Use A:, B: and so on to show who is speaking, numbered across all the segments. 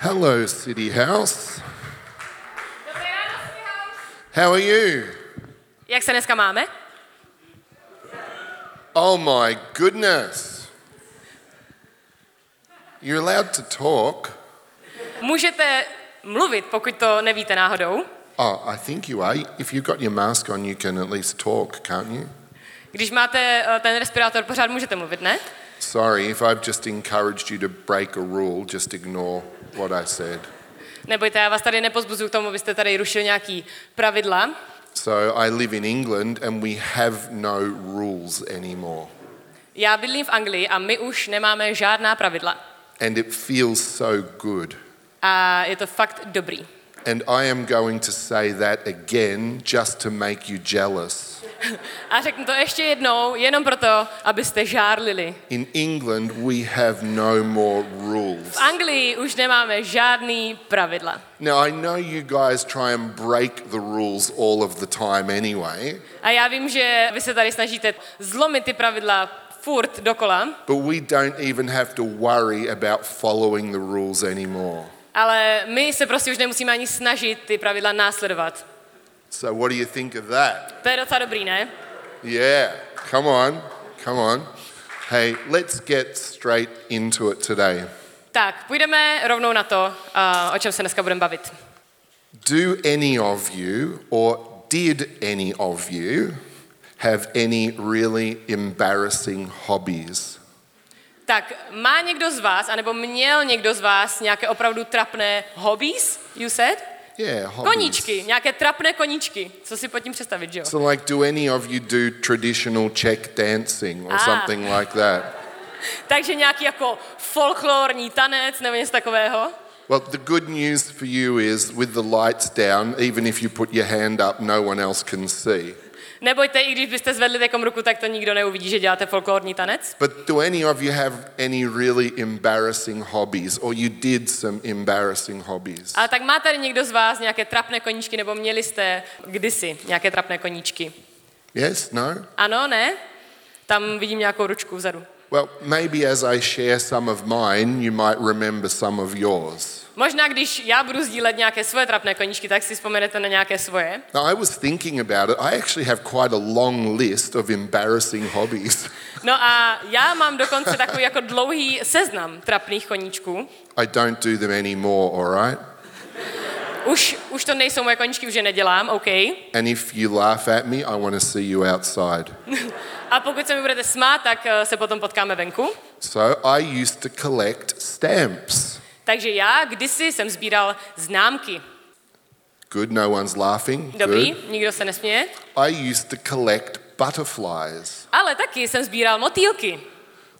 A: Hello, City House. How are you?
B: Jak se dneska máme?
A: Oh my goodness. You're allowed to talk.
B: Můžete mluvit, pokud to nevíte náhodou.
A: Oh, I think you are. If you've got your mask on, you can at least talk, can't you?
B: Když máte eh, ten respirátor, pořád můžete mluvit, ne?
A: Sorry if I've just encouraged you to break a rule, just ignore what I said.
B: Nebojte, já vás tady nepozbuzuju k tomu, abyste tady rušil nějaký pravidla.
A: So, I live in England and we have no rules anymore.
B: Já bydlím v Anglii a my už nemáme žádná pravidla.
A: And it feels so good.
B: A je to fakt dobrý.
A: And I am going to say that again just to make you jealous.
B: A řeknu to ještě jednou, jenom proto, abyste žárlili.
A: In England, we have no more rules.
B: V Anglii už nemáme žádný pravidla.
A: Now, I know you guys try and break the rules all of the time anyway,
B: A já vím, že vy se tady snažíte zlomit ty pravidla furt dokola,
A: but we don't even have to worry about following the rules anymore.
B: ale my se prostě už nemusíme ani snažit ty pravidla následovat.
A: So, what do you think of that?
B: To je docela dobrý, ne?
A: Yeah, come on, come on. Hey, let's get straight into it today.
B: Tak, půjdeme rovnou na to, a, o čem se dneska budeme bavit.
A: Do any of you, or did any of you, have any really embarrassing hobbies?
B: Tak, má někdo z vás, anebo měl někdo z vás nějaké opravdu trapné hobbies, you said?
A: Yeah, hobbies.
B: Koníčky, nějaké trapné koníčky. Co si pod tím představit, že jo?
A: So, like, do any of you do traditional Czech dancing or
B: Ah.
A: something like that?
B: Takže nějaký jako folklorní tanec nebo něco takového.
A: Well, the good news for you is with the lights down, even if you put your hand up, no one else can see.
B: Nebojte, i když byste zvedli takom ruku, tak to nikdo neuvidí, že děláte folklorní tanec.
A: But do any of you have any really embarrassing hobbies or you did some embarrassing hobbies?
B: Ale tak má tady někdo z vás nějaké trapné koníčky, nebo měli jste kdysi nějaké trapné koníčky?
A: Yes? No?
B: Ano, ne? Tam vidím nějakou ručku vzadu.
A: Well, maybe as I share some of mine, you might remember some of yours.
B: Možná, když já budu sdílet nějaké svoje trapné koníčky, tak si vzpomenete na nějaké svoje.
A: Now, I was thinking about it. I actually have quite a long list of embarrassing hobbies.
B: No a já mám dokonce takový jako dlouhý seznam trapných koníčků.
A: I don't do them anymore, all right?
B: Už, už to nejsou moje koníčky, už je nedělám, OK.
A: And if you laugh at me, I want to see you outside.
B: A pokud se mi budete smát, tak eh, se potom potkáme venku.
A: So I used to collect stamps.
B: Takže já kdysi jsem sbíral známky.
A: Good, no one's laughing.
B: Dobrý,
A: Good.
B: nikdo se nesměje.
A: I used to collect butterflies,
B: Ale taky jsem sbíral motýlky.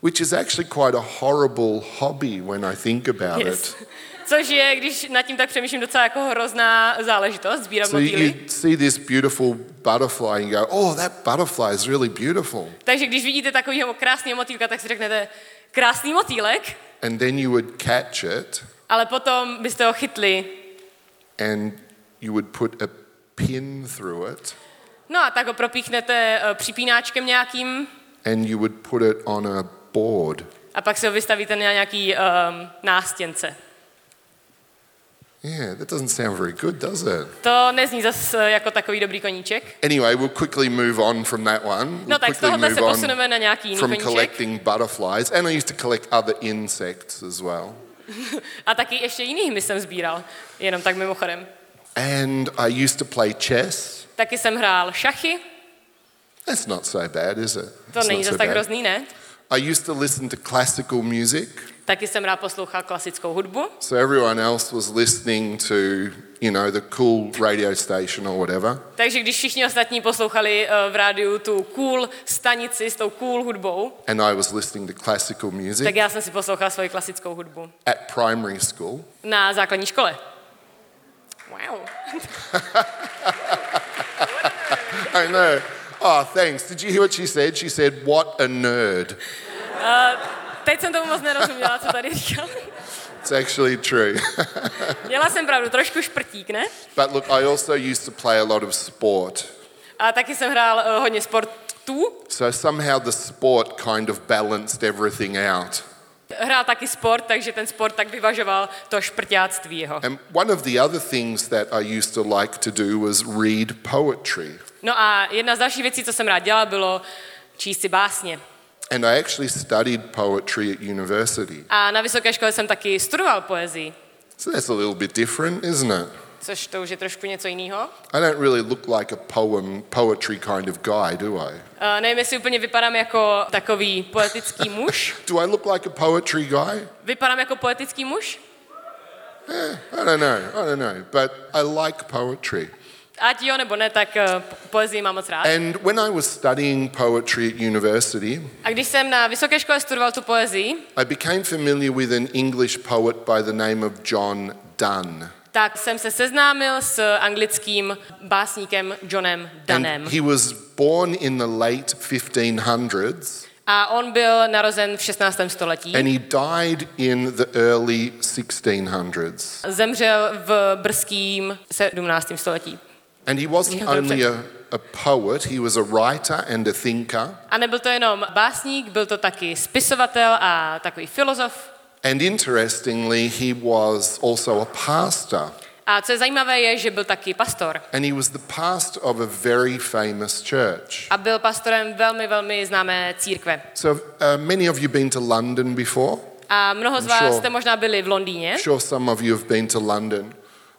A: which is actually quite a horrible hobby when I think about
B: Yes.
A: it.
B: Což je, když nad tím tak přemýšlím, docela jako hrozná záležitost, sbírat
A: So you,
B: motýly.
A: you see this beautiful butterfly and you go, oh, that butterfly is really beautiful.
B: Takže když vidíte takového krásného motýlka, tak si řeknete, krásný motýlek,
A: And then you would catch it
B: ale potom byste ho chytli.
A: and you would put a pin through it
B: No a tak ho propíchnete eh, připínáčkem nějakým
A: and you would put it on a board.
B: a pak se ho vystavíte na nějaký um, nástěnce.
A: Yeah, that doesn't sound very good, does it?
B: To nezní zase jako takový dobrý koníček.
A: Anyway, we'll quickly move on from that one.
B: No
A: We'll
B: tak z
A: quickly
B: tohohle
A: move
B: se posuneme
A: on
B: na nějaký jiný
A: from
B: koníček.
A: collecting butterflies. And I used to collect other insects as well.
B: A taky ještě jiný hmyz jsem sbíral, jenom tak mimochodem.
A: And I used to play chess.
B: Taky jsem hrál šachy,
A: That's not so bad, is it?
B: to
A: It's
B: není
A: not so
B: zase tak
A: bad.
B: hrozný, ne?
A: I used to listen to classical music.
B: Taky jsem rád poslouchal klasickou hudbu.
A: So everyone else was listening to, you know, the cool radio station or whatever.
B: Takže když všichni ostatní poslouchali eh, v rádiu tu cool stanici s tou cool hudbou,
A: And I was listening to classical
B: tak
A: music
B: já jsem si poslouchal svoji klasickou hudbu
A: at primary school.
B: na základní škole. Wow.
A: I know. Oh, thanks. Did you hear what she said? She said, what a nerd.
B: Teď jsem tomu moc nerozuměla, co tady říkal.
A: It's actually true.
B: Měla jsem pravdu, trošku šprtík, ne?
A: but look, I also used to play a lot of sport.
B: A taky jsem hrál eh, hodně sportů,
A: So somehow the sport kind of balanced everything out.
B: Hrál taky sport, takže ten sport tak vyvažoval to šprťáctví jeho.
A: And one of the other things that I used to like to do was read poetry.
B: No a jedna z dalších věcí, co jsem rád dělala, bylo číst si básně.
A: And I actually studied poetry at university.
B: A na vysoké škole jsem taky studoval poezii,
A: So that's a little bit different, isn't it?
B: což to už je trošku něco jiného.
A: I don't really look like a poem, poetry kind of guy, do I?
B: Eh, Nevím, jestli úplně vypadám jako takový poetický muž.
A: Do I look like a poetry guy?
B: Vypadám jako poetický muž?
A: I don't know. I don't know. But I like poetry.
B: Ať jo nebo ne, tak eh, po- poezii mám moc rád.
A: And when I was studying poetry at university,
B: A když jsem na vysoké škole studoval tu poezii,
A: I became familiar with an English poet by the name of John Donne.
B: tak jsem se seznámil s anglickým básníkem Johnem Dunnem.
A: And he was born in the late 1500s
B: A on byl narozen v 16. století.
A: and he died in the early 1600s.
B: Zemřel v brzkým 17. století.
A: And he wasn't
B: Yeah,
A: only a, a poet, he was a writer and a thinker.
B: A nebyl to jenom básník, byl to taky spisovatel a takový filozof.
A: And interestingly, he was also a pastor.
B: A co je zajímavé, je, že byl taky pastor.
A: And he was the pastor of a very famous church.
B: A byl pastorem velmi, velmi známé církve.
A: So, uh, many of you been to London before?
B: A mnoho z
A: I'm
B: vás
A: sure.
B: jste možná byli v Londýně.
A: sure some of you have been to London.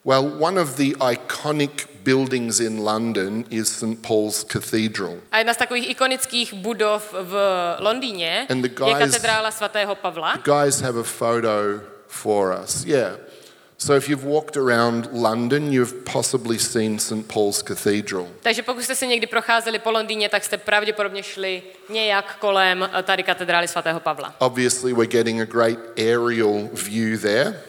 A: Well, one of the iconic buildings in London is St. Paul's Cathedral.
B: A jedna z takových ikonických budov v Londýně
A: And the
B: je
A: guys-
B: katedrála svatého Pavla.
A: Guys have a photo for us. Yeah. So if you've walked around London, you've possibly seen St. Paul's Cathedral.
B: Takže pokud jste se někdy procházeli po Londýně, tak jste pravděpodobně šli nějak kolem eh, tady katedrály svatého Pavla.
A: Obviously, we're getting a great aerial view there,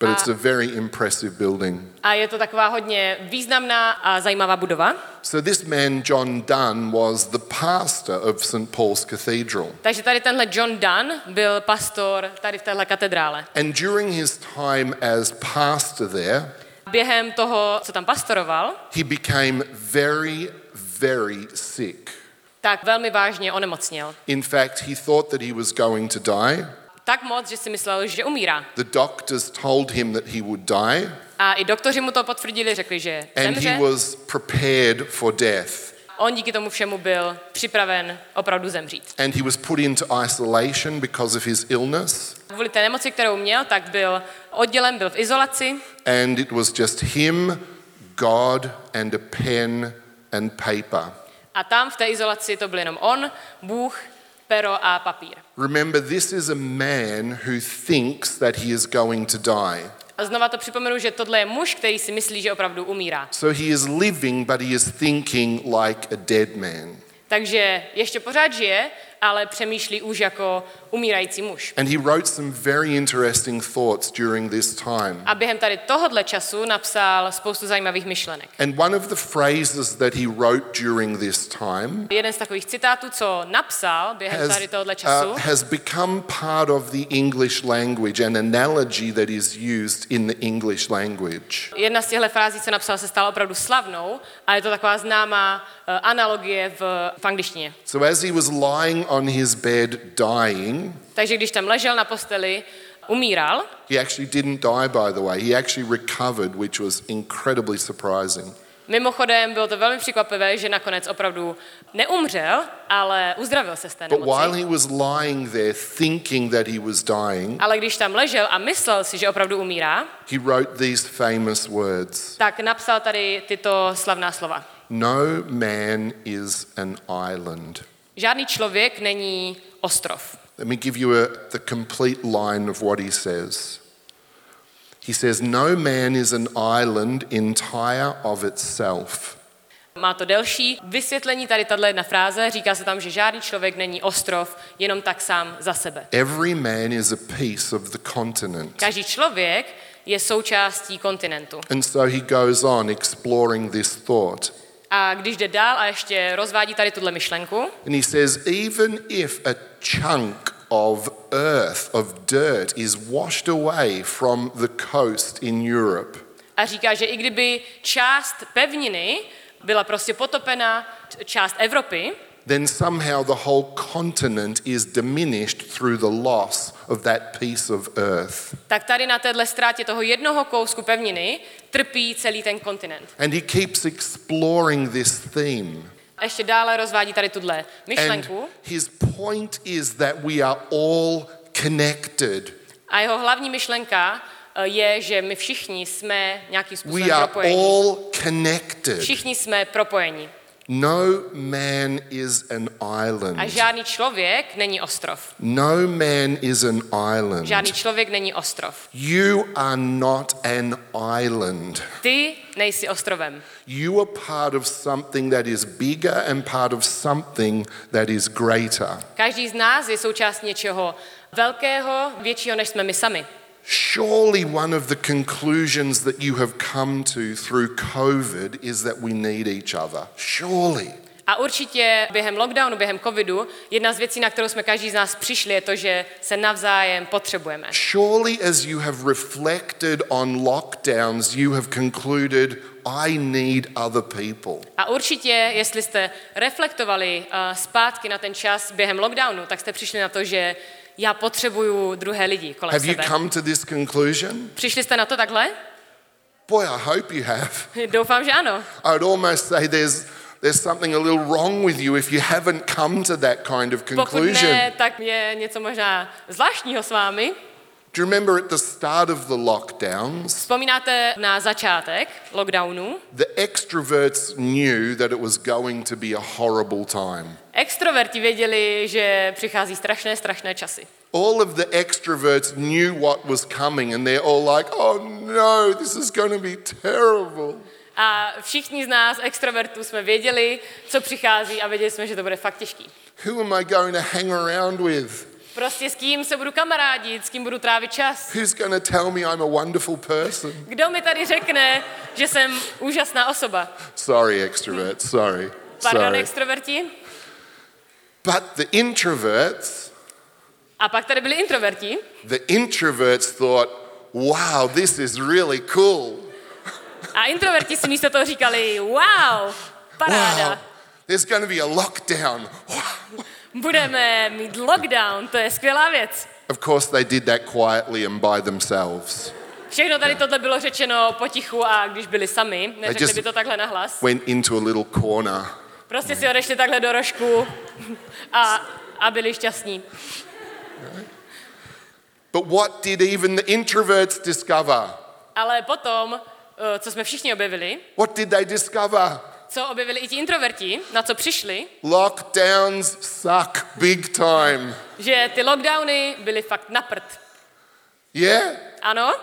A: but it's a very impressive building.
B: A je to taková hodně významná a zajímavá budova.
A: So this man, John Dunn, was the pastor of St. Paul's Cathedral.
B: Takže tady tenhle John Dunn byl pastor tady v téhle katedrále.
A: And during his time as pastor there,
B: Během toho, co tam pastoroval,
A: he became very, very sick.
B: tak velmi vážně onemocněl.
A: In fact, he thought that he was going to die.
B: Tak moc, že si myslel, že umírá.
A: The doctors told him that he would die,
B: A i doktoři mu to potvrdili, řekli, že
A: and
B: zemře.
A: he was prepared for death.
B: On díky tomu všemu byl připraven opravdu zemřít.
A: And he was put into isolation because of his illness,
B: Kvůli té nemoci, kterou měl, tak byl oddělen, byl v izolaci
A: and it was just him, God, and a pen and paper.
B: a tam v té izolaci to byl jenom on, Bůh, pero a papír.
A: Remember, this is a man who thinks that he is going to die.
B: A znova to připomenu, že tohle je muž, který si myslí, že opravdu umírá.
A: So he is living, but he is thinking like a dead man.
B: Takže ještě pořád žije, ale přemýšlí už jako umírající muž.
A: And he wrote some very interesting thoughts during this time.
B: A během tady tohohle času napsal spoustu zajímavých myšlenek.
A: And one of the phrases that he wrote during this time
B: Jeden z takových citátů, co napsal během
A: has,
B: tady tohohle času,
A: uh, has become part of the English language, an analogy that is used in the English language.
B: Jedna z těchto frází, co napsal, se stala opravdu slavnou a je to taková známá eh, analogie v, v angličtině.
A: So as he was lying on his bed dying,
B: Takže když tam ležel na posteli, umíral,
A: he actually didn't die, by the way. He actually recovered, which was incredibly surprising.
B: mimochodem bylo to velmi překvapivé, že nakonec opravdu neumřel, ale uzdravil se z té
A: But while
B: nemoci.
A: he was lying there thinking that he was dying,
B: Ale když tam ležel a myslel si, že opravdu umírá,
A: he wrote these famous words
B: tak napsal tady tyto slavná slova.
A: No man is an island.
B: Žádný člověk není ostrov.
A: Let me give you a, the complete line of what he says. He says, No man is an island entire of itself.
B: Má to delší vysvětlení tady tato jedna fráze. Říká se tam, že žádný člověk není ostrov, jenom tak sám za sebe.
A: Every man is a piece of the continent.
B: Každý člověk je součástí kontinentu.
A: And so he goes on exploring this thought.
B: A když jde dál a ještě rozvádí tady tuhle myšlenku,
A: And he says, even if a chunk of earth, of dirt, is washed away from the coast in Europe,
B: a říká, že i kdyby část pevniny byla prostě potopena, č- část Evropy,
A: then somehow the whole continent is diminished through the loss of that piece of earth.
B: tak tady na téhle ztrátě toho jednoho kousku pevniny trpí celý ten kontinent.
A: And he keeps exploring this theme.
B: A ještě dále rozvádí tady tuhle
A: And
B: myšlenku
A: his point is that we are all connected.
B: a jeho hlavní myšlenka eh, je, že my všichni jsme nějakým
A: We
B: způsobem
A: are
B: propojení.
A: all connected.
B: Všichni jsme propojení.
A: No man is an
B: A
A: island.
B: žádný člověk není ostrov.
A: No man is an
B: Žádný
A: island.
B: člověk není ostrov.
A: You are not an island.
B: Ty nejsi ostrovem.
A: You are part of something that is bigger and part of something that is greater.
B: Každý z nás je součást něčeho velkého, většího než jsme my sami.
A: Surely, one of the conclusions that you have come to through COVID is that we need each other. Surely.
B: A určitě během lockdownu, během covidu, jedna z věcí, na kterou jsme každý z nás přišli, je to, že se navzájem potřebujeme.
A: Surely, as you have reflected on lockdowns, you have concluded, I need other people.
B: A určitě, jestli jste reflektovali eh, zpátky na ten čas během lockdownu, tak jste přišli na to, že já potřebuju druhé lidi kolem
A: Have you
B: sebe.
A: come to this conclusion?
B: Přišli jste na to takhle?
A: Boy, I hope you have.
B: Doufám, že ano.
A: I would almost say there's, there's something a little wrong with you if you haven't come to that kind of
B: Pokud
A: conclusion.
B: ne, tak je něco možná zvláštního s vámi.
A: Do you remember at the start of the lockdowns,
B: Vzpomínáte na začátek lockdownu?
A: the extroverts knew that it was going to be a horrible time.
B: Extroverti věděli, že přichází strašné, strašné časy.
A: All of the extroverts knew what was coming, and they're all like, oh no, this is going to be terrible.
B: A všichni z nás, extrovertů, jsme věděli, co přichází a věděli jsme, že to bude fakt těžký.
A: Who am I going to hang around with?
B: Prostě s kým se budu kamarádit, s kým budu trávit čas.
A: Who's going to tell me I'm a wonderful person?
B: Kdo mi tady řekne, že jsem úžasná osoba?
A: Sorry, extroverts, sorry.
B: Pardon,
A: Sorry.
B: extroverti.
A: But the introverts,
B: A pak tady byli introverti.
A: the introverts thought, wow, this is really cool.
B: A introverti si místo toho říkali, wow, paráda,
A: Wow, there's going to be a lockdown. Wow.
B: budeme mít lockdown, to je skvělá věc.
A: Of course, they did that quietly and by themselves.
B: Všechno tady tohle bylo řečeno potichu a když byli sami, neřekli
A: just-
B: by to takhle nahlas.
A: Went into a little corner.
B: Prostě si odešli takhle do rožku a, a byli šťastní.
A: But what did even the introverts discover?
B: Ale potom, eh, co jsme všichni objevili,
A: What did they discover?
B: co objevili i ti introverti, na co přišli,
A: Lockdowns suck big time.
B: že ty lockdowny byly fakt na prd.
A: Yeah?
B: Ano?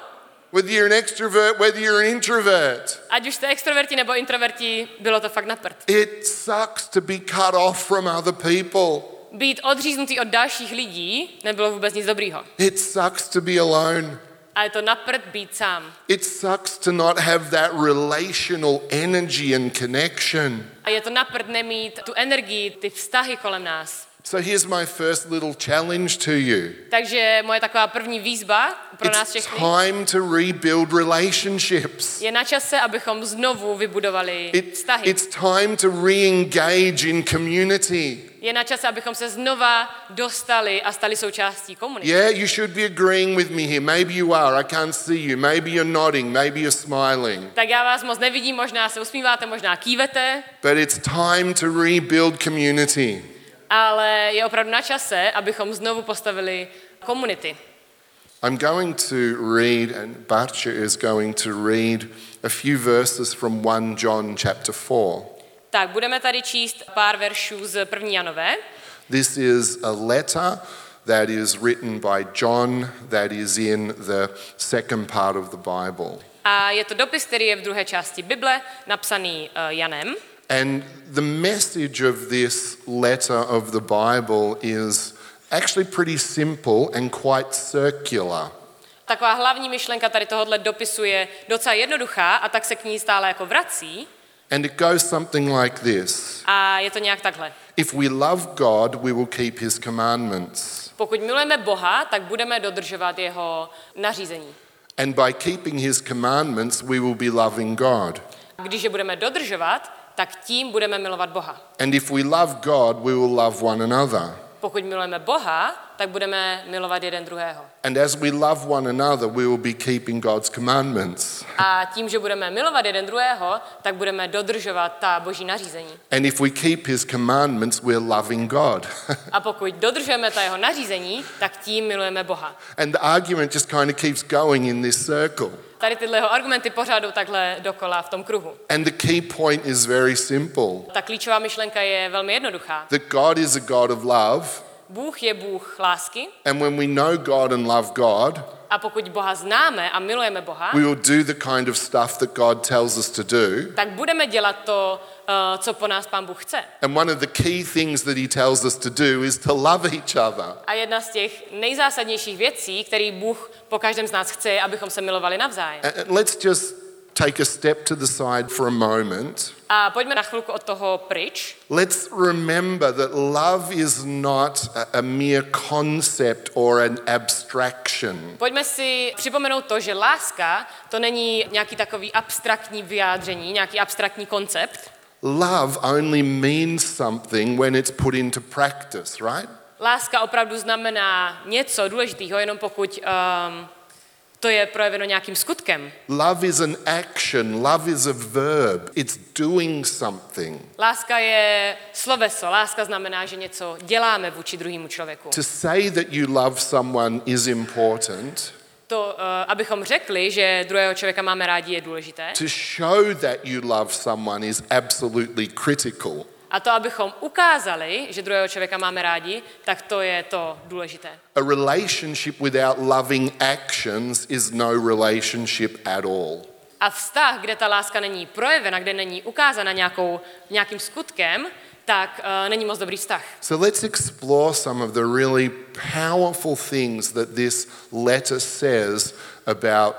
A: Whether you're an extrovert, whether you're an introvert,
B: Ať už jste extroverti nebo introverti, bylo to fakt na prd.
A: it sucks to be cut off from other people.
B: Být odříznutý od dalších lidí nebylo vůbec nic dobrýho.
A: It sucks to be alone.
B: A je to na prd být sám.
A: It sucks to not have that relational energy and connection.
B: A je to na prd nemít tu energii, ty vztahy kolem nás.
A: So here's my first little challenge to you.
B: Takže moje taková první výzva pro nás
A: It's
B: všechny
A: time to rebuild relationships.
B: je na čase, abychom znovu vybudovali
A: It,
B: vztahy.
A: it's time to re engage in community.
B: Je na čase, abychom se znova dostali a stali součástí komunity.
A: Yeah, you should be agreeing with me here. Maybe you are. I can't see you. Maybe you're nodding. Maybe you're smiling.
B: Tak já vás moc nevidím, možná se usmíváte, možná kývete,
A: But it's time to rebuild community.
B: ale je opravdu na čase, abychom znovu postavili komunity.
A: I'm going to read, and Bartja is going to read a few verses from 1 John chapter 4.
B: Tak, budeme tady číst pár veršů z první Janové.
A: This is a letter that is written by John that is in the second part of the Bible.
B: A je to dopis, který je v druhé části Bible, napsaný eh, Janem.
A: And the message of this letter of the Bible is actually pretty simple and quite circular.
B: Taková hlavní myšlenka tady tohohle dopisu je docela jednoduchá a tak se k ní stále jako vrací.
A: And it goes something like this
B: A je to nějak takhle.
A: If we love God, we will keep his commandments.
B: Pokud milujeme Boha, tak budeme dodržovat jeho nařízení.
A: And by keeping his commandments, we will be loving God.
B: A když je budeme dodržovat, tak tím budeme milovat Boha.
A: And if we love God, we will love one another.
B: Pokud milujeme Boha, tak budeme milovat jeden druhého.
A: And as we love one another, we will be keeping God's commandments.
B: A tím, že budeme milovat jeden druhého, tak budeme dodržovat ta boží nařízení.
A: And if we keep his commandments, we're loving God.
B: A pokud dodržujeme ta jeho nařízení, tak tím milujeme Boha.
A: and the argument just kind of keeps going in this circle.
B: Tady tyhle jeho argumenty pořád jdou takhle dokola v tom kruhu.
A: And the key point is very simple
B: Ta No klíčová myšlenka je velmi jednoduchá.
A: that God is a God of love.
B: Bůh je Bůh lásky
A: And when we know God and love God,
B: a pokud Boha známe a milujeme Boha,
A: we will do the kind of stuff that God tells us to do.
B: tak budeme dělat to, eh, co po nás Pán Bůh chce.
A: And one of the key things that he tells us to do is to love each other.
B: A jedna z těch nejzásadnějších věcí, který Bůh po každém z nás chce, je, abychom se milovali navzájem.
A: And and let's just take a step to the side for a moment.
B: A pojďme na chvilku od toho pryč.
A: Let's remember that love is not a, a mere concept or an abstraction.
B: Pojďme si připomenout to, že láska to není nějaký takový abstraktní vyjádření, nějaký abstraktní koncept.
A: Love only means something when it's put into practice, right?
B: Láska opravdu znamená něco důležitého, jenom pokud um, to je projeveno nějakým skutkem.
A: Love is an action, love is a verb, it's doing something.
B: Láska je sloveso, láska znamená, že něco děláme vůči druhému člověku.
A: To say that you love someone is important,
B: To, eh, abychom řekli, že druhého člověka máme rádi, je důležité.
A: to show that you love someone is absolutely critical.
B: A to, abychom ukázali, že druhého člověka máme rádi, tak to je to důležité.
A: A relationship without loving actions is no relationship at all.
B: A vztah, kde ta láska není projevena, kde není ukázána nějakou, nějakým skutkem, tak uh, není moc dobrý vztah.
A: So let's explore some of the really powerful things that this letter says about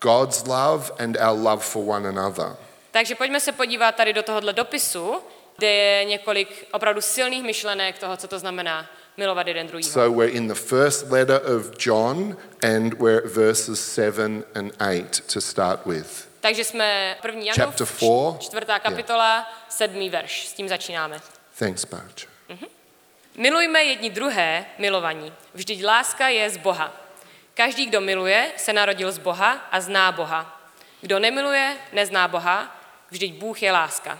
A: God's love and our love for one another.
B: Takže pojďme se podívat tady do tohohle dopisu, kde je několik opravdu silných myšlenek toho, co to znamená milovat jeden druhý.
A: So we're in the first letter of John and we're at verses 7 and 8 to start with.
B: Takže jsme první Janův,
A: Chapter four.
B: čtvrtá kapitola, sedmý verš. S tím začínáme.
A: Thanks, Barge.
B: Milujme jedni druhé milovaní. Vždyť láska je z Boha. Každý, kdo miluje, se narodil z Boha a zná Boha. Kdo nemiluje, nezná Boha, vždyť Bůh je láska.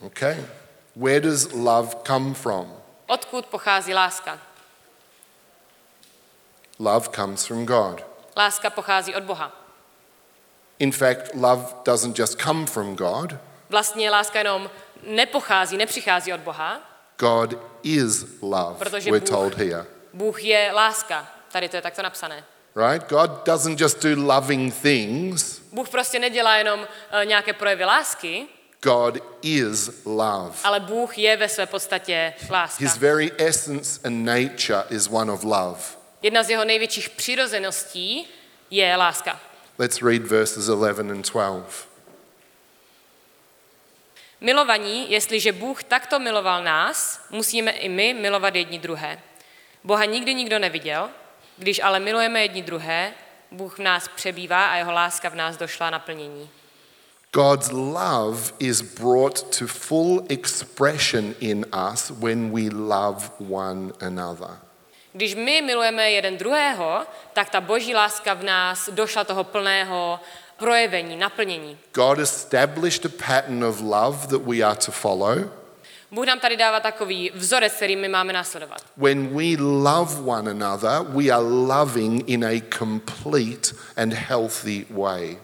A: Okay. Where does love come from?
B: Odkud pochází láska?
A: Love comes from God.
B: Láska pochází od Boha.
A: In fact, love doesn't just come from God,
B: Vlastně láska jenom nepochází, nepřichází od Boha.
A: God is love,
B: Protože
A: we're
B: Bůh-
A: told here.
B: Bůh je láska. Tady to je takto napsané.
A: Right? God doesn't just do loving things,
B: Bůh prostě nedělá jenom eh, nějaké projevy lásky,
A: God is love.
B: ale Bůh je ve své podstatě láska.
A: His very essence and nature is one of love.
B: Jedna z jeho největších přirozeností je láska.
A: Let's read verses 11 and 12.
B: Milovaní, jestliže Bůh takto miloval nás, musíme i my milovat jedni druhé. Boha nikdy nikdo neviděl, když ale milujeme jedni druhé, Bůh v nás přebývá a jeho láska v nás došla naplnění.
A: God's love is brought to full expression in us when we love one another.
B: Když my milujeme jeden druhého, tak ta boží láska v nás došla toho plného projevení, naplnění.
A: God established a pattern of love that we are to follow.
B: Bůh nám tady dává takový vzorec, který my máme následovat.
A: When we love one another, we are loving in a complete and healthy way.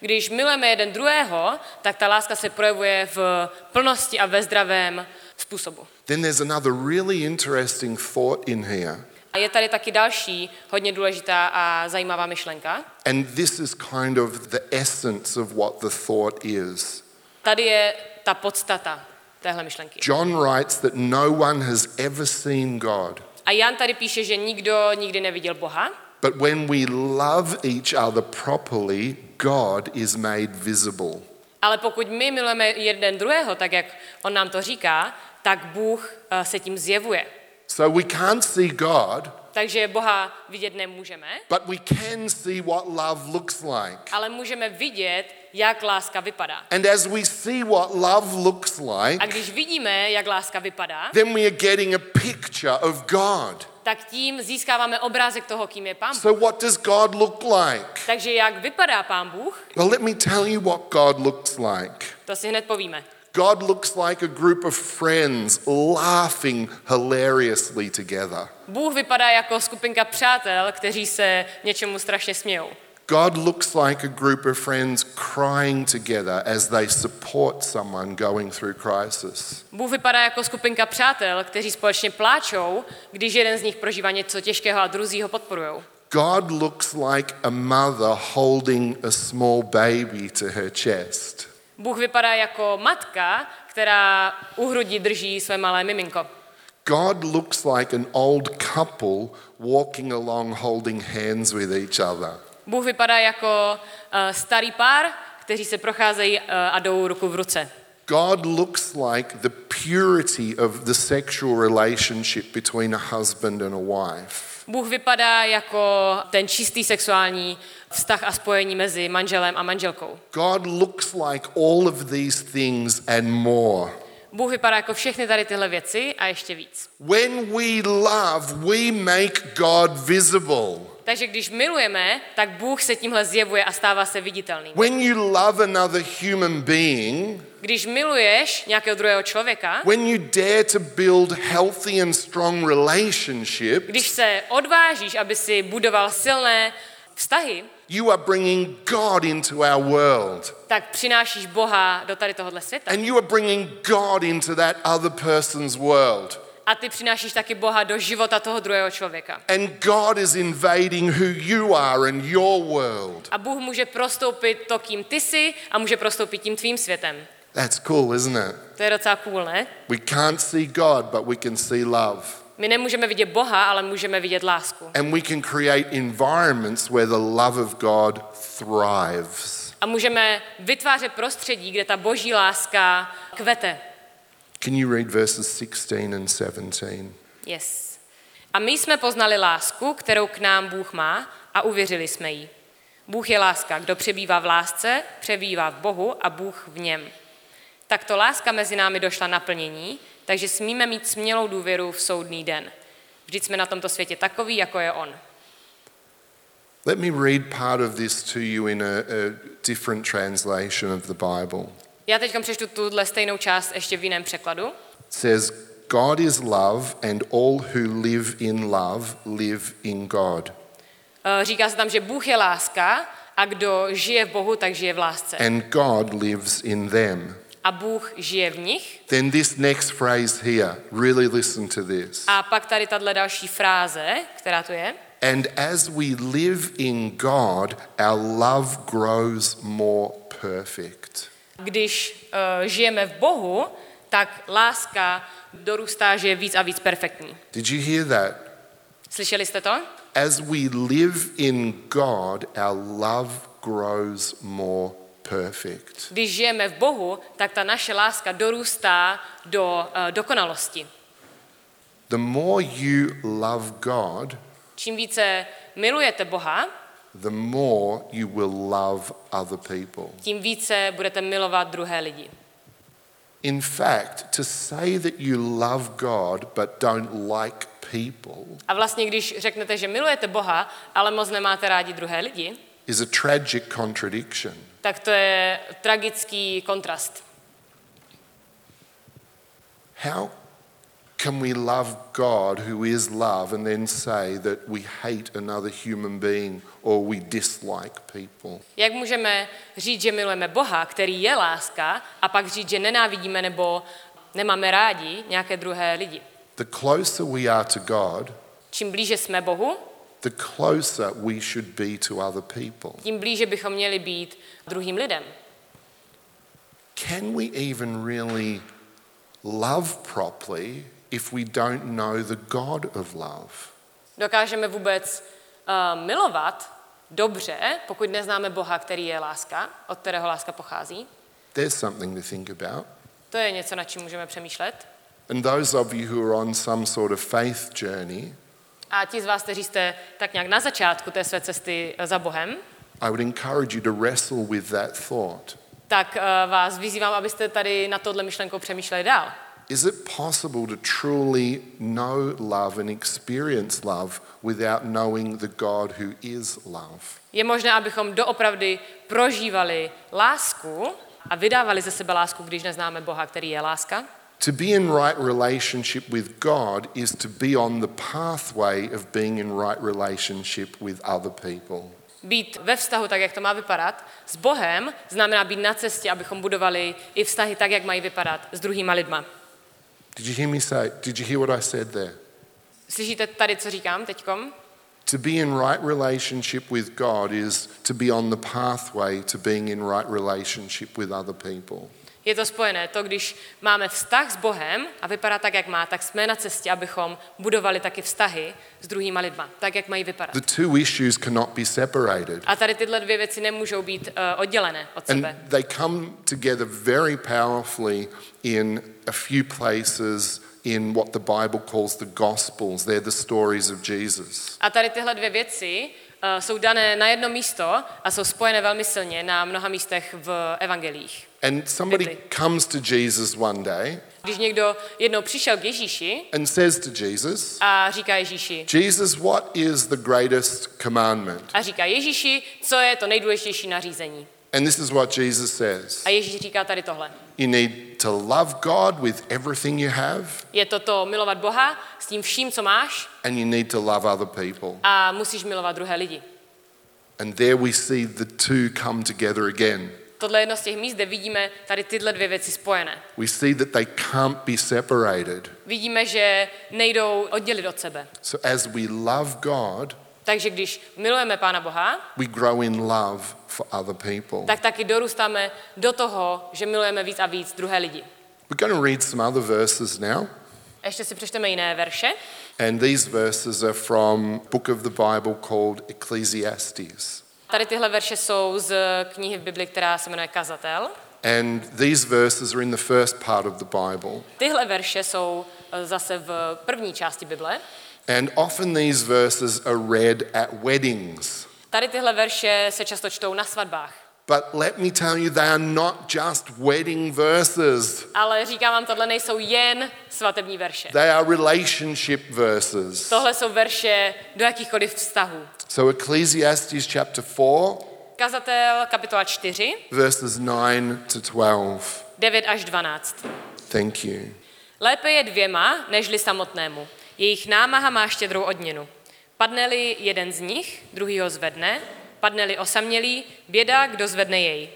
B: Když milujeme jeden druhého, tak ta láska se projevuje v plnosti a ve zdravém způsobu.
A: Then there's another really interesting thought in here,
B: A je tady taky další hodně důležitá a zajímavá myšlenka.
A: and this is kind of the essence of what the thought is.
B: Tady je ta podstata téhle myšlenky.
A: John writes that no one has ever seen God,
B: A Jan tady píše, že nikdo nikdy neviděl Boha,
A: but when we love each other properly, God is made visible.
B: ale pokud my milujeme jeden druhého, tak jak on nám to říká, tak Bůh eh, se tím zjevuje.
A: So we can't see God,
B: Takže Boha vidět nemůžeme,
A: but we can see what love looks like.
B: ale můžeme vidět, jak láska vypadá.
A: And as we see what love looks
B: A
A: like,
B: když vidíme, jak láska vypadá,
A: then we are getting a picture of God.
B: tak tím získáváme obrázek toho, kým je Pán Bůh.
A: So, what does God look like?
B: Takže jak vypadá Pán Bůh,
A: Well, let me tell you what God looks like.
B: to si hned povíme.
A: God looks like a group of friends laughing hilariously together.
B: Bůh vypadá jako skupinka přátel, kteří se něčemu strašně smějou.
A: God looks like a group of friends crying together as they support someone going through crisis.
B: Bůh vypadá jako skupinka přátel, kteří společně pláčou, když jeden z nich prožívá něco těžkého a druzí ho podporujou.
A: God looks like a mother holding a small baby to her chest.
B: Bůh vypadá jako matka, která u hrudi drží své malé miminko.
A: God looks like an old couple walking along holding hands with each other.
B: Bůh vypadá jako eh, starý pár, kteří se procházejí eh, a jdou ruku v ruce.
A: God looks like the purity of the sexual relationship between a husband and a wife.
B: Bůh vypadá jako ten čistý sexuální vztah a spojení mezi manželem a manželkou.
A: God looks like all of these things and more.
B: Bůh vypadá jako všechny tady tyhle věci a ještě víc.
A: When we love, we make God visible.
B: Takže když milujeme, tak Bůh se tímhle zjevuje a stává se viditelný.
A: When you love another human being,
B: Když miluješ nějakého druhého člověka,
A: when you dare to build healthy and strong
B: když
A: relationships,
B: se odvážíš, aby si budoval silné vztahy,
A: you are bringing God into our world.
B: tak přinášíš Boha do tady tohohle světa.
A: And you are bringing God into that other person's world.
B: A ty přinášíš taky Boha do života toho druhého člověka.
A: And God is invading who you are and your world.
B: A Bůh může prostoupit to, kým ty jsi, a může prostoupit tím tvým světem.
A: That's cool, isn't it?
B: To je docela cool, ne?
A: We can't see God, but we can see love.
B: My nemůžeme vidět Boha, ale můžeme vidět lásku.
A: And we can create environments where the love of God thrives.
B: A můžeme vytvářet prostředí, kde ta boží láska kvete.
A: Can you read verses 16 and 17?
B: Yes. A my jsme poznali lásku, kterou k nám Bůh má a uvěřili jsme jí. Bůh je láska. Kdo přebývá v lásce, přebývá v Bohu a Bůh v něm. Takto láska mezi námi došla naplnění, takže smíme mít smělou důvěru v soudný den. Vždyť jsme na tomto světě takový, jako je on.
A: Let me read part of this to you in a, a different translation of the Bible.
B: Já teď přečtu tuhle stejnou část ještě v jiném překladu.
A: It says, God is love, and all who live in love live in God,
B: Eh, Říká se tam, že Bůh je láska a kdo žije v Bohu, tak žije v lásce.
A: and God lives in them.
B: A Bůh žije v nich.
A: Then, this next phrase here, really listen to this.
B: A pak tady tahle další fráze, která tu je.
A: And as we live in God, our love grows more perfect.
B: Když eh, žijeme v Bohu, tak láska dorůstá, že je víc a víc perfektní.
A: Did you hear that?
B: Slyšeli jste to?
A: As we live in God, our love grows more perfect.
B: Když žijeme v Bohu, tak ta naše láska dorůstá do eh, dokonalosti.
A: The more you love God,
B: Čím více milujete Boha,
A: the more you will love other people.
B: tím více budete milovat druhé lidi.
A: In fact, to say that you love God but don't like people
B: A vlastně, když řeknete, že milujete Boha, ale moc nemáte rádi druhé lidi,
A: is a tragic contradiction.
B: tak to je tragický kontrast.
A: How can we love God, who is love, and then say that we hate another human being or we dislike people?
B: Jak můžeme říct, že milujeme Boha, který je láska, a pak říct, že nenávidíme nebo nemáme rádi nějaké druhé lidi?
A: The closer we are to God,
B: Čím blíže jsme Bohu,
A: the closer we should be to other people.
B: tím blíže bychom měli být druhým lidem.
A: Can we even really love properly if we don't know the God of love?
B: Dokážeme vůbec eh, milovat dobře, pokud neznáme Boha, který je láska, od kterého láska pochází.
A: There's something to think about.
B: To je něco, nad čím můžeme přemýšlet.
A: And those of you who are on some sort of faith journey,
B: A ti z vás, kteří jste tak nějak na začátku té své cesty eh, za Bohem,
A: I would encourage you to wrestle with that thought.
B: tak eh, vás vyzývám, abyste tady na tohle myšlenkou přemýšleli dál.
A: Is it possible to truly know love and experience love without knowing the God who is love?
B: Je možné, abychom doopravdy prožívali lásku a vydávali ze sebe lásku, když neznáme Boha, který je láska.
A: To be in right relationship with God is to be on the pathway of being in right relationship with other people.
B: Být ve vztahu tak, jak to má vypadat, s Bohem znamená být na cestě, abychom budovali i vztahy tak, jak mají vypadat s druhýma lidma.
A: Did you hear me say? Did you hear what I said there?
B: Slyšíte tady, co říkám teďkom?
A: To be in right relationship with God is to be on the pathway to being in right relationship with other people.
B: Je to spojené. To, když máme vztah s Bohem a vypadá tak, jak má, tak jsme na cestě, abychom budovali taky vztahy s druhýma lidma, tak, jak mají vypadat.
A: The two issues cannot be separated.
B: A tady tyhle dvě věci nemůžou být eh, oddělené od
A: And
B: sebe.
A: they come together very powerfully in a few places in what the Bible calls the Gospels. They're the stories of Jesus.
B: A tady tyhle dvě věci eh, jsou dané na jedno místo a jsou spojené velmi silně na mnoha místech v evangelích.
A: And somebody
B: Bibli.
A: comes to Jesus one day
B: Když někdo jednou přišel k Ježíši
A: and says to Jesus,
B: a říká Ježíši,
A: Jesus, what is the greatest commandment?
B: a říká Ježíši, co je to nejdůležitější nařízení.
A: And this is what Jesus says
B: A Ježíš říká tady tohle.
A: You need to love God with everything you have,
B: Je to to milovat Boha s tím vším, co máš
A: and you need to love other people.
B: a musíš milovat druhé lidi.
A: And there we see the two come together again.
B: Tohle je jedno z těch míst, kde vidíme tady tyhle dvě věci spojené.
A: We see that they can't be separated.
B: Vidíme, že nejdou oddělit od sebe.
A: So as we love God,
B: Takže když milujeme Pána Boha,
A: we grow in love for other people.
B: tak taky dorůstáme do toho, že milujeme víc a víc druhé lidi.
A: We're going to read some other verses now,
B: Ještě si přečteme jiné verše.
A: and these verses are from a book of the Bible called Ecclesiastes.
B: Tady tyhle verše jsou z knihy v Bibli, která se jmenuje Kazatel.
A: And these verses are in the first part of the Bible.
B: Tyhle verše jsou eh, zase v první části Bible.
A: And often these verses are read at weddings.
B: Tady tyhle verše se často čtou na svatbách.
A: But let me tell you, they are not just wedding verses.
B: Ale říkám vám, tohle nejsou jen svatební verše.
A: They are relationship verses.
B: Tohle jsou verše do jakýchkoliv vztahů.
A: So Ecclesiastes chapter 4,
B: Kazatel, kapitola 4,
A: verses 9 to 12.
B: 9 až 12.
A: Thank you.
B: Lépe je dvěma, nežli samotnému. Jejich námaha má štědrou odměnu. Padne-li jeden z nich, druhý ho zvedne, padne-li osamělý, běda, kdo zvedne jej.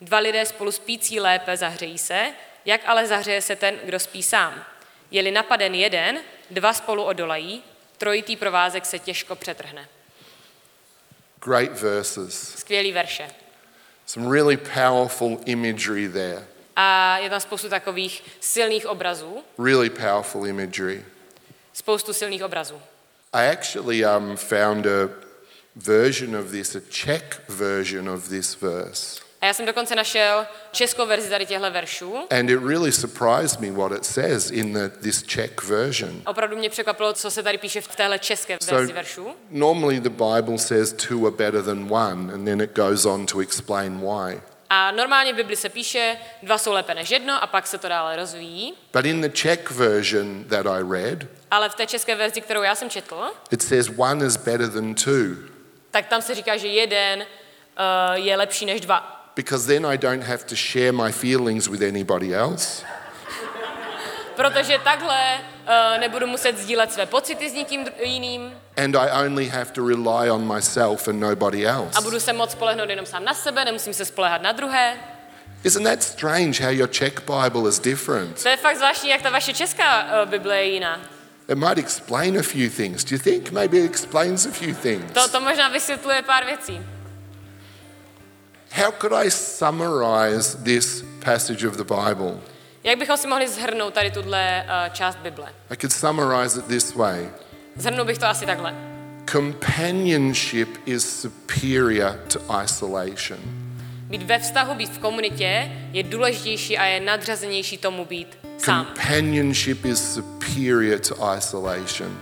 B: Dva lidé spolu spící lépe zahřejí se, jak ale zahřeje se ten, kdo spí sám. Je-li napaden jeden, dva spolu odolají, trojitý provázek se těžko přetrhne.
A: Great verses.
B: Skvělý verše.
A: Some really powerful imagery there.
B: A je tam spoustu takových silných obrazů,
A: Really powerful imagery.
B: spoustu silných obrazů.
A: I actually um, found a version of this, a Czech version of this verse.
B: A já jsem dokonce našel českou verzi tady těchto veršů.
A: And it really surprised me what it says in the, this Czech version.
B: Opravdu mě překvapilo, co se tady píše v téhle české verzi veršů.
A: normally the Bible says two are better than one, and then it goes on to explain why.
B: A normálně v Bibli se píše, dva jsou lépe než jedno a pak se to dále rozvíjí.
A: But in the Czech version that I read,
B: Ale v té české verzi, kterou já jsem četl,
A: it says one is better than two,
B: tak tam se říká, že jeden eh, je lepší než dva.
A: because then I don't have to share my feelings with anybody else.
B: Protože takhle eh, nebudu muset sdílet své pocity s nikým dru- jiným
A: And I only have to rely on myself and nobody
B: a
A: else.
B: budu se moc spolehnout jenom sám na sebe, nemusím se spolehat na druhé.
A: Isn't that strange how your Czech Bible is different?
B: To je fakt zvláštní, jak ta vaše česká eh, Bible je jiná.
A: It might explain a few things. Do you think maybe it explains a few things?
B: To, to možná vysvětluje pár věcí.
A: How could I summarize this passage of the Bible?
B: Jak bychom si mohli zhrnout tady tuhle eh, část Bible?
A: I could summarize it this way
B: Zhrnul bych to asi takhle.
A: Companionship is superior to isolation.
B: Být ve vztahu, být v komunitě je důležitější a je nadřazenější tomu být sám.
A: Companionship is superior to isolation.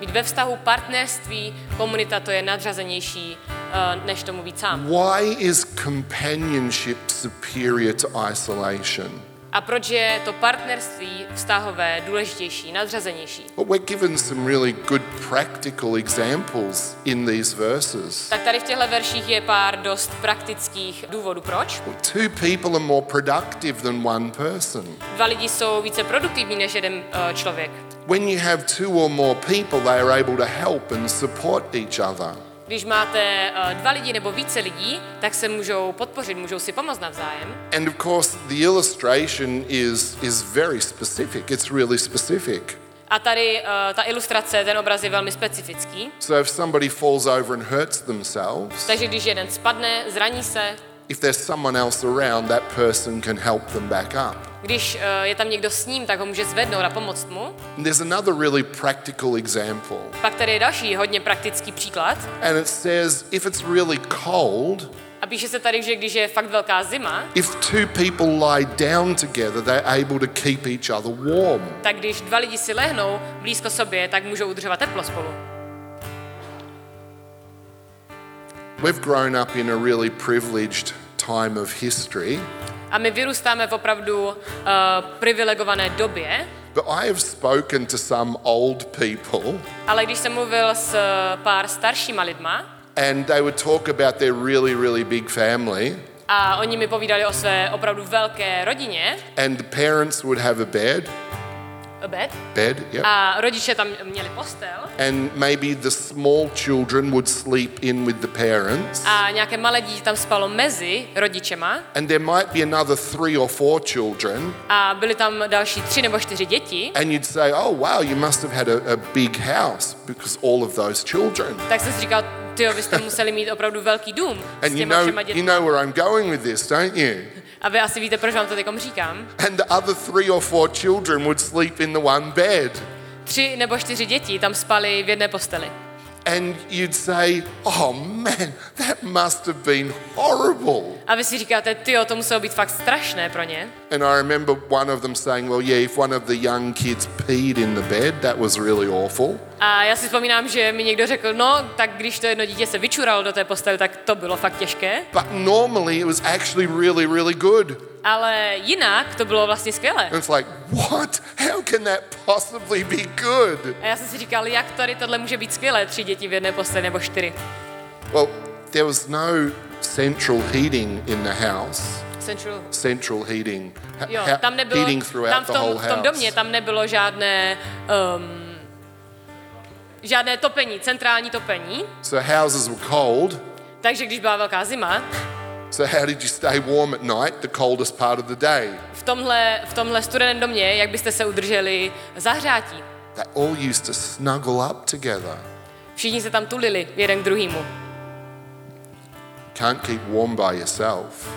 B: Být ve vztahu partnerství, komunita, to je nadřazenější eh, než tomu být sám.
A: Why is companionship superior to isolation?
B: a proč je to partnerství vztahové důležitější, nadřazenější.
A: But we're given some really good practical examples in these verses.
B: Tak tady v těchto verších je pár dost praktických důvodů, proč.
A: Two people are more productive than one person.
B: Dva lidi jsou více produktivní než jeden eh, člověk.
A: When you have two or more people, they are able to help and support each other.
B: Když máte eh, dva lidi nebo více lidí, tak se můžou podpořit, můžou si pomoct navzájem.
A: And of course, the illustration is, is very specific. It's really specific.
B: A tady eh, ta ilustrace, ten obraz je velmi specifický.
A: So if somebody falls over and hurts themselves,
B: Takže když jeden spadne, zraní se,
A: if there's someone else around, that person can help them back up.
B: když eh, je tam někdo s ním, tak ho může zvednout a pomoct mu.
A: And there's another really practical example.
B: Pak tady je další hodně praktický příklad.
A: And it says if it's really cold,
B: A píše se tady, že když je fakt velká zima,
A: if two people lie down together, they're able to keep each other warm.
B: tak když dva lidi si lehnou blízko sobě, tak můžou udržovat teplo spolu.
A: We've grown up in a really privileged time of history,
B: A my vyrůstáme v opravdu uh, privilegované době,
A: but I have spoken to some old people
B: ale když jsem mluvil s eh, pár staršíma lidma
A: and they would talk about their really, really big family,
B: a oni mi povídali o své opravdu velké rodině,
A: and the parents would have a bed,
B: bed,
A: bed, yep.
B: a rodiče tam měli postel
A: and maybe the small children would sleep in with the parents.
B: a nějaké malé dítě tam spalo mezi rodičema
A: And there might be another three or four children,
B: a byly tam další tři nebo čtyři děti,
A: and you'd say, Oh, wow, you must have had a, a big house because all of those children.
B: tak jsem si říkal, ty vy jste museli mít opravdu velký dům s
A: And you
B: těma
A: know,
B: všema
A: you
B: dětmi.
A: know where I'm going with this, don't you?
B: A vy asi víte, proč vám to teďkom říkám.
A: And the other three or four children would sleep in the one bed.
B: Tři nebo čtyři děti tam spali v jedné posteli.
A: And you'd say, Oh man, that must have been horrible.
B: A vy si říkáte, ty to muselo být fakt strašné pro ně.
A: And I remember one of them saying, Well, yeah, if one of the young kids peed in the bed, that was really awful.
B: A já si vzpomínám, že mi někdo řekl, no, tak když to jedno dítě se vyčuralo do té postele, tak to bylo fakt těžké.
A: But normally it was actually really, really good.
B: Ale jinak to bylo vlastně skvělé.
A: And it's like, what? How can that possibly be good?
B: A já jsem si říkal, jak tady tohle může být skvělé, tři děti v jedné posteli nebo čtyři.
A: Well, there was no central heating in the house.
B: Central.
A: Central heating. Ha-
B: Jo,
A: ha-
B: tam nebylo,
A: heating throughout
B: tam v
A: the whole
B: tom, v
A: house.
B: tom domě, tam nebylo žádné, um, žádné topení, centrální topení.
A: So houses were cold.
B: Takže když byla velká zima,
A: So how did you stay warm at night, the coldest part of the day?
B: v tomhle, v tomhle studeném domě, jak byste se udrželi zahřátí.
A: They all used to snuggle up together.
B: Všichni se tam tulili jeden k druhému.
A: Can't keep warm by yourself.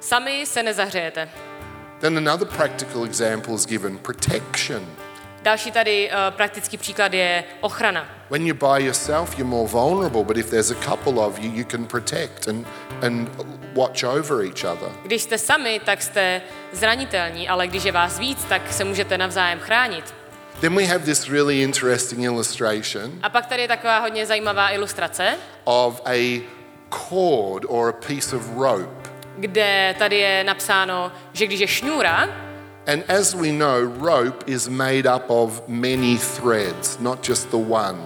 B: Sami se nezahřejete.
A: Then another practical example is given protection.
B: Další tady eh, praktický příklad je ochrana.
A: When you're by yourself, you're more vulnerable, but if there's a couple of you, you can protect and, and watch over each other.
B: Když jste sami, tak jste zranitelní, ale když je vás víc, tak se můžete navzájem chránit.
A: Then we have this really interesting illustration
B: A pak tady je taková hodně zajímavá ilustrace,
A: of a cord or a piece of rope.
B: kde tady je napsáno, že když je šňůra,
A: And as we know, rope is made up of many threads, not just the one.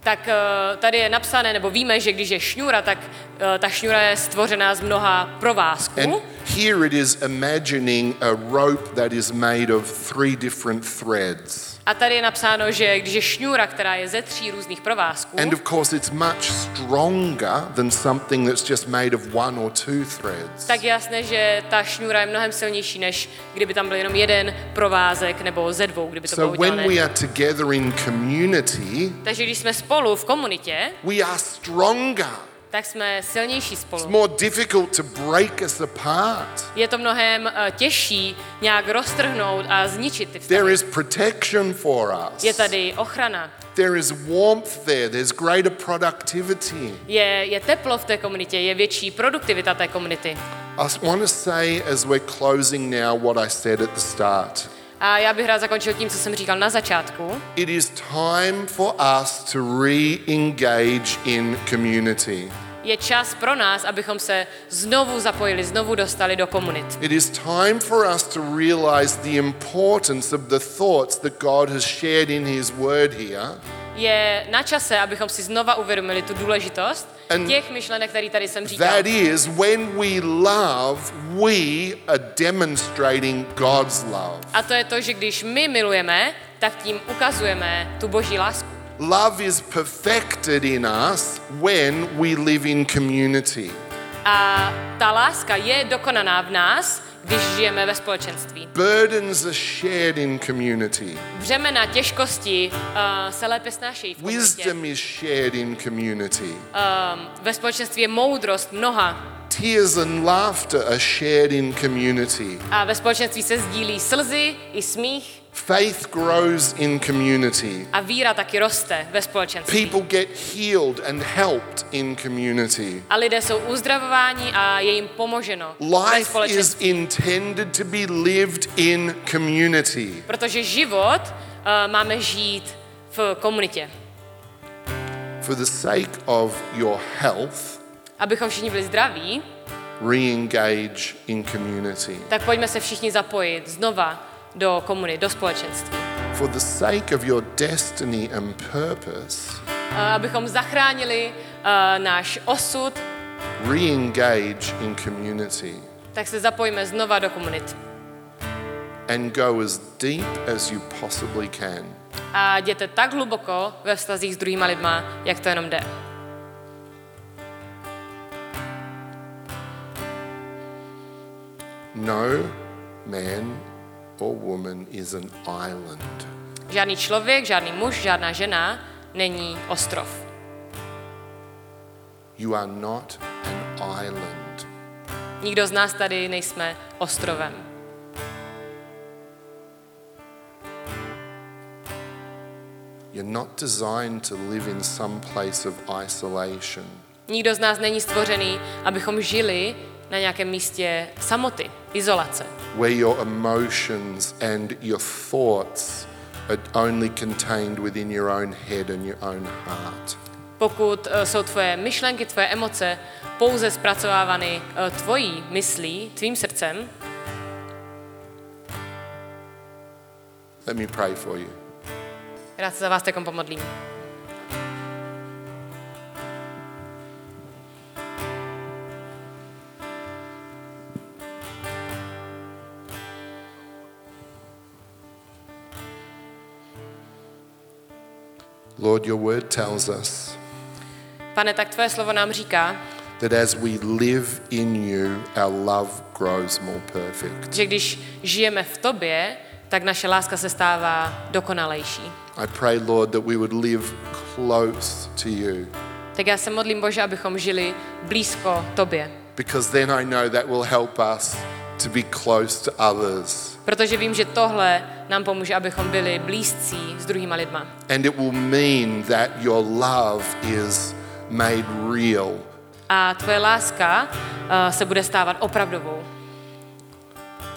B: tak eh, tady je napsané, nebo víme, že když je šňůra, tak eh, ta šňůra je stvořená z mnoha provázků.
A: And here it is imagining a rope that is made of three different threads.
B: A tady je napsáno, že když je šňůra, která je ze tří různých provázků,
A: And of course, it's much stronger than something that's just made of one or two threads.
B: tak je jasné, že ta šňůra je mnohem silnější, než kdyby tam byl jenom jeden provázek nebo ze dvou, kdyby to
A: So
B: bylo
A: when we
B: udělané.
A: are together in community,
B: Takže když jsme spolu v komunitě,
A: we are stronger.
B: tak jsme silnější
A: It's
B: spolu.
A: more difficult to break us apart.
B: Je to mnohem eh, těžší nějak roztrhnout a zničit ty
A: There
B: vztahy.
A: is protection for us.
B: Je tady ochrana,
A: There is warmth there. There's greater productivity.
B: je, je teplo v té komunitě, je větší produktivita té komunity.
A: I want to say as we're closing now what I said at the start.
B: A já bych rád zakončil tím, co jsem říkal na začátku.
A: It is time for us to re engage in community.
B: je čas pro nás, abychom se znovu zapojili, znovu dostali do komunit.
A: It is time for us to realize the importance of the thoughts that God has shared in His Word here
B: Je na čase, abychom si znova uvědomili tu důležitost
A: And-
B: těch myšlenek, které tady jsem říkal.
A: That is, when we love, we are demonstrating God's love.
B: A to je to, že když my milujeme, tak tím ukazujeme tu boží lásku.
A: Love is perfected in us when we live in community.
B: A ta láska je dokonaná v nás, když žijeme ve společenství.
A: Burdens are shared in community.
B: Břemena těžkosti uh, se lépe snášejí v komunitě.
A: Wisdom is shared in community.
B: Um, ve společenství je moudrost mnoha
A: Tears and laughter are shared in community.
B: a ve společenství se sdílí slzy i smích
A: Faith grows in community.
B: a víra taky roste ve společenství.
A: People get healed and helped in community.
B: A lidé jsou uzdravováni a je jim pomoženo ve
A: Life is
B: společenství.
A: intended to be lived in community.
B: Protože život uh, máme žít v komunitě.
A: For the sake of your health,
B: Abychom všichni byli zdraví,
A: re engage in community.
B: tak pojďme se všichni zapojit znova do komuny, do společenství.
A: For the sake of your destiny and purpose,
B: Eh, Abychom zachránili eh, náš osud,
A: re engage in community
B: tak se zapojíme znova do komunit.
A: and go as deep as you possibly can.
B: A jděte tak hluboko ve vztazích s druhýma lidma, jak to jenom jde.
A: No man or woman is an island.
B: Žádný člověk, žádný muž, žádná žena není ostrov.
A: You are not an island.
B: Nikdo z nás tady nejsme ostrovem.
A: You're not designed to live in some place of isolation.
B: Nikdo z nás není stvořený, abychom žili na nějakém místě samoty, izolace.
A: where your emotions and your thoughts are only contained within your own head and your own heart.
B: Pokud eh, jsou tvoje myšlenky, tvoje emoce pouze zpracovávány eh, tvojí myslí, tvým srdcem,
A: Let me pray for you.
B: rád se za vás takom pomodlím.
A: Lord, your word tells us
B: Pane, tak tvoje slovo nám říká,
A: that as we live in you, our love grows more perfect.
B: že když žijeme v tobě, tak naše láska se stává dokonalejší.
A: I pray, Lord, that we would live close to you
B: Tak já se modlím, Bože, abychom žili blízko tobě.
A: because then I know that will help us to be close to others
B: Protože vím, že tohle nám pomůže, abychom byli blízcí s druhýma lidma.
A: and it will mean that your love is made real
B: A tvoje láska eh, se bude stávat opravdovou.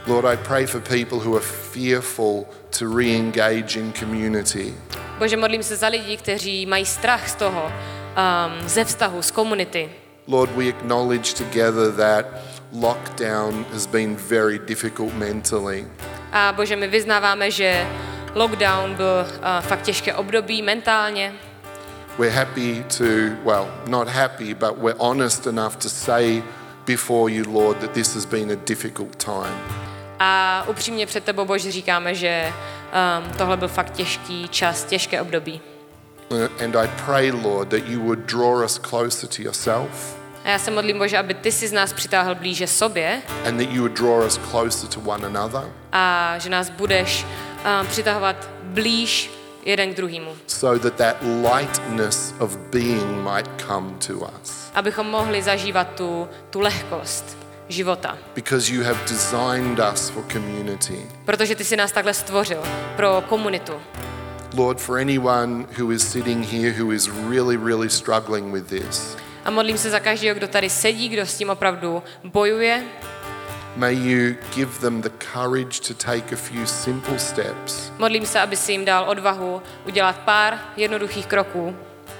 A: Lord, I pray for people who are fearful to re engage in community.
B: Bože, modlím se za lidi, kteří mají strach z toho, um, ze vztahu, z komunity.
A: Lord, we acknowledge together that lockdown has been very difficult mentally.
B: A Bože, my vyznáváme, že lockdown byl uh, fakt těžké období mentálně.
A: We're happy to, well, not happy, but we're honest enough to say before you, Lord, that this has been a difficult time.
B: A upřímně před tebou, Bože, říkáme, že um, tohle byl fakt těžký čas, těžké období.
A: Uh, And I pray, Lord, that you would draw us closer to yourself
B: A já se modlím, Bože, aby ty si z nás přitáhl blíže sobě
A: and that you would draw us closer to one another
B: a že nás budeš um, přitahovat blíž jeden k druhému.
A: so that that lightness of being might come to us.
B: Abychom mohli zažívat tu, tu lehkost života.
A: because you have designed us for community.
B: Protože ty jsi nás takhle stvořil pro komunitu.
A: Lord, for anyone who is sitting here who is really, really struggling with this,
B: A modlím se za každého, kdo tady sedí, kdo s tím opravdu bojuje.
A: may you give them the courage to take a few simple steps
B: Modlím se, aby si jim dal odvahu udělat pár jednoduchých kroků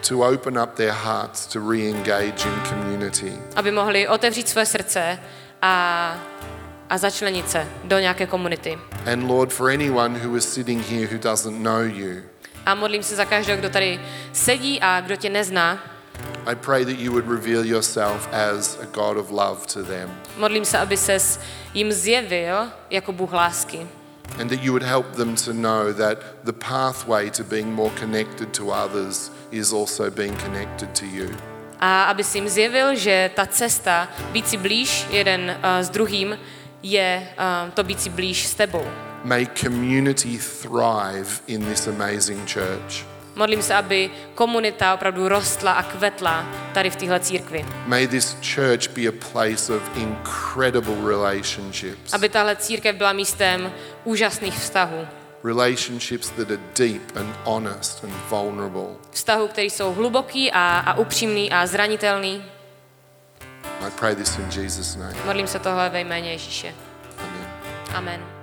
A: to open up their hearts to re engage in community.
B: aby mohli otevřít své srdce a, a začlenit se do nějaké komunity.
A: And Lord, for anyone who is sitting here who doesn't know you,
B: A modlím se za každého, kdo tady sedí a kdo tě nezná.
A: I pray that you would reveal yourself as a God of love to them
B: Modlím se, aby ses jim zjevil jako Bůh lásky.
A: and that you would help them to know that the pathway to being more connected to others is also being connected to you.
B: A aby si jim zjevil, že ta cesta být si blíž jeden eh, s druhým je eh, to být si blíž s tebou.
A: May community thrive in this amazing church.
B: Modlím se, aby komunita opravdu rostla a kvetla tady v téhle církvi.
A: May this church be a place of incredible relationships,
B: Aby tahle církev byla místem úžasných vztahů.
A: relationships that are deep and honest and vulnerable.
B: Vztahů, které jsou hluboký a, a upřímný a zranitelný.
A: I pray this in Jesus' name.
B: Modlím se tohle ve jméně Ježíše.
A: Amen.
B: Amen.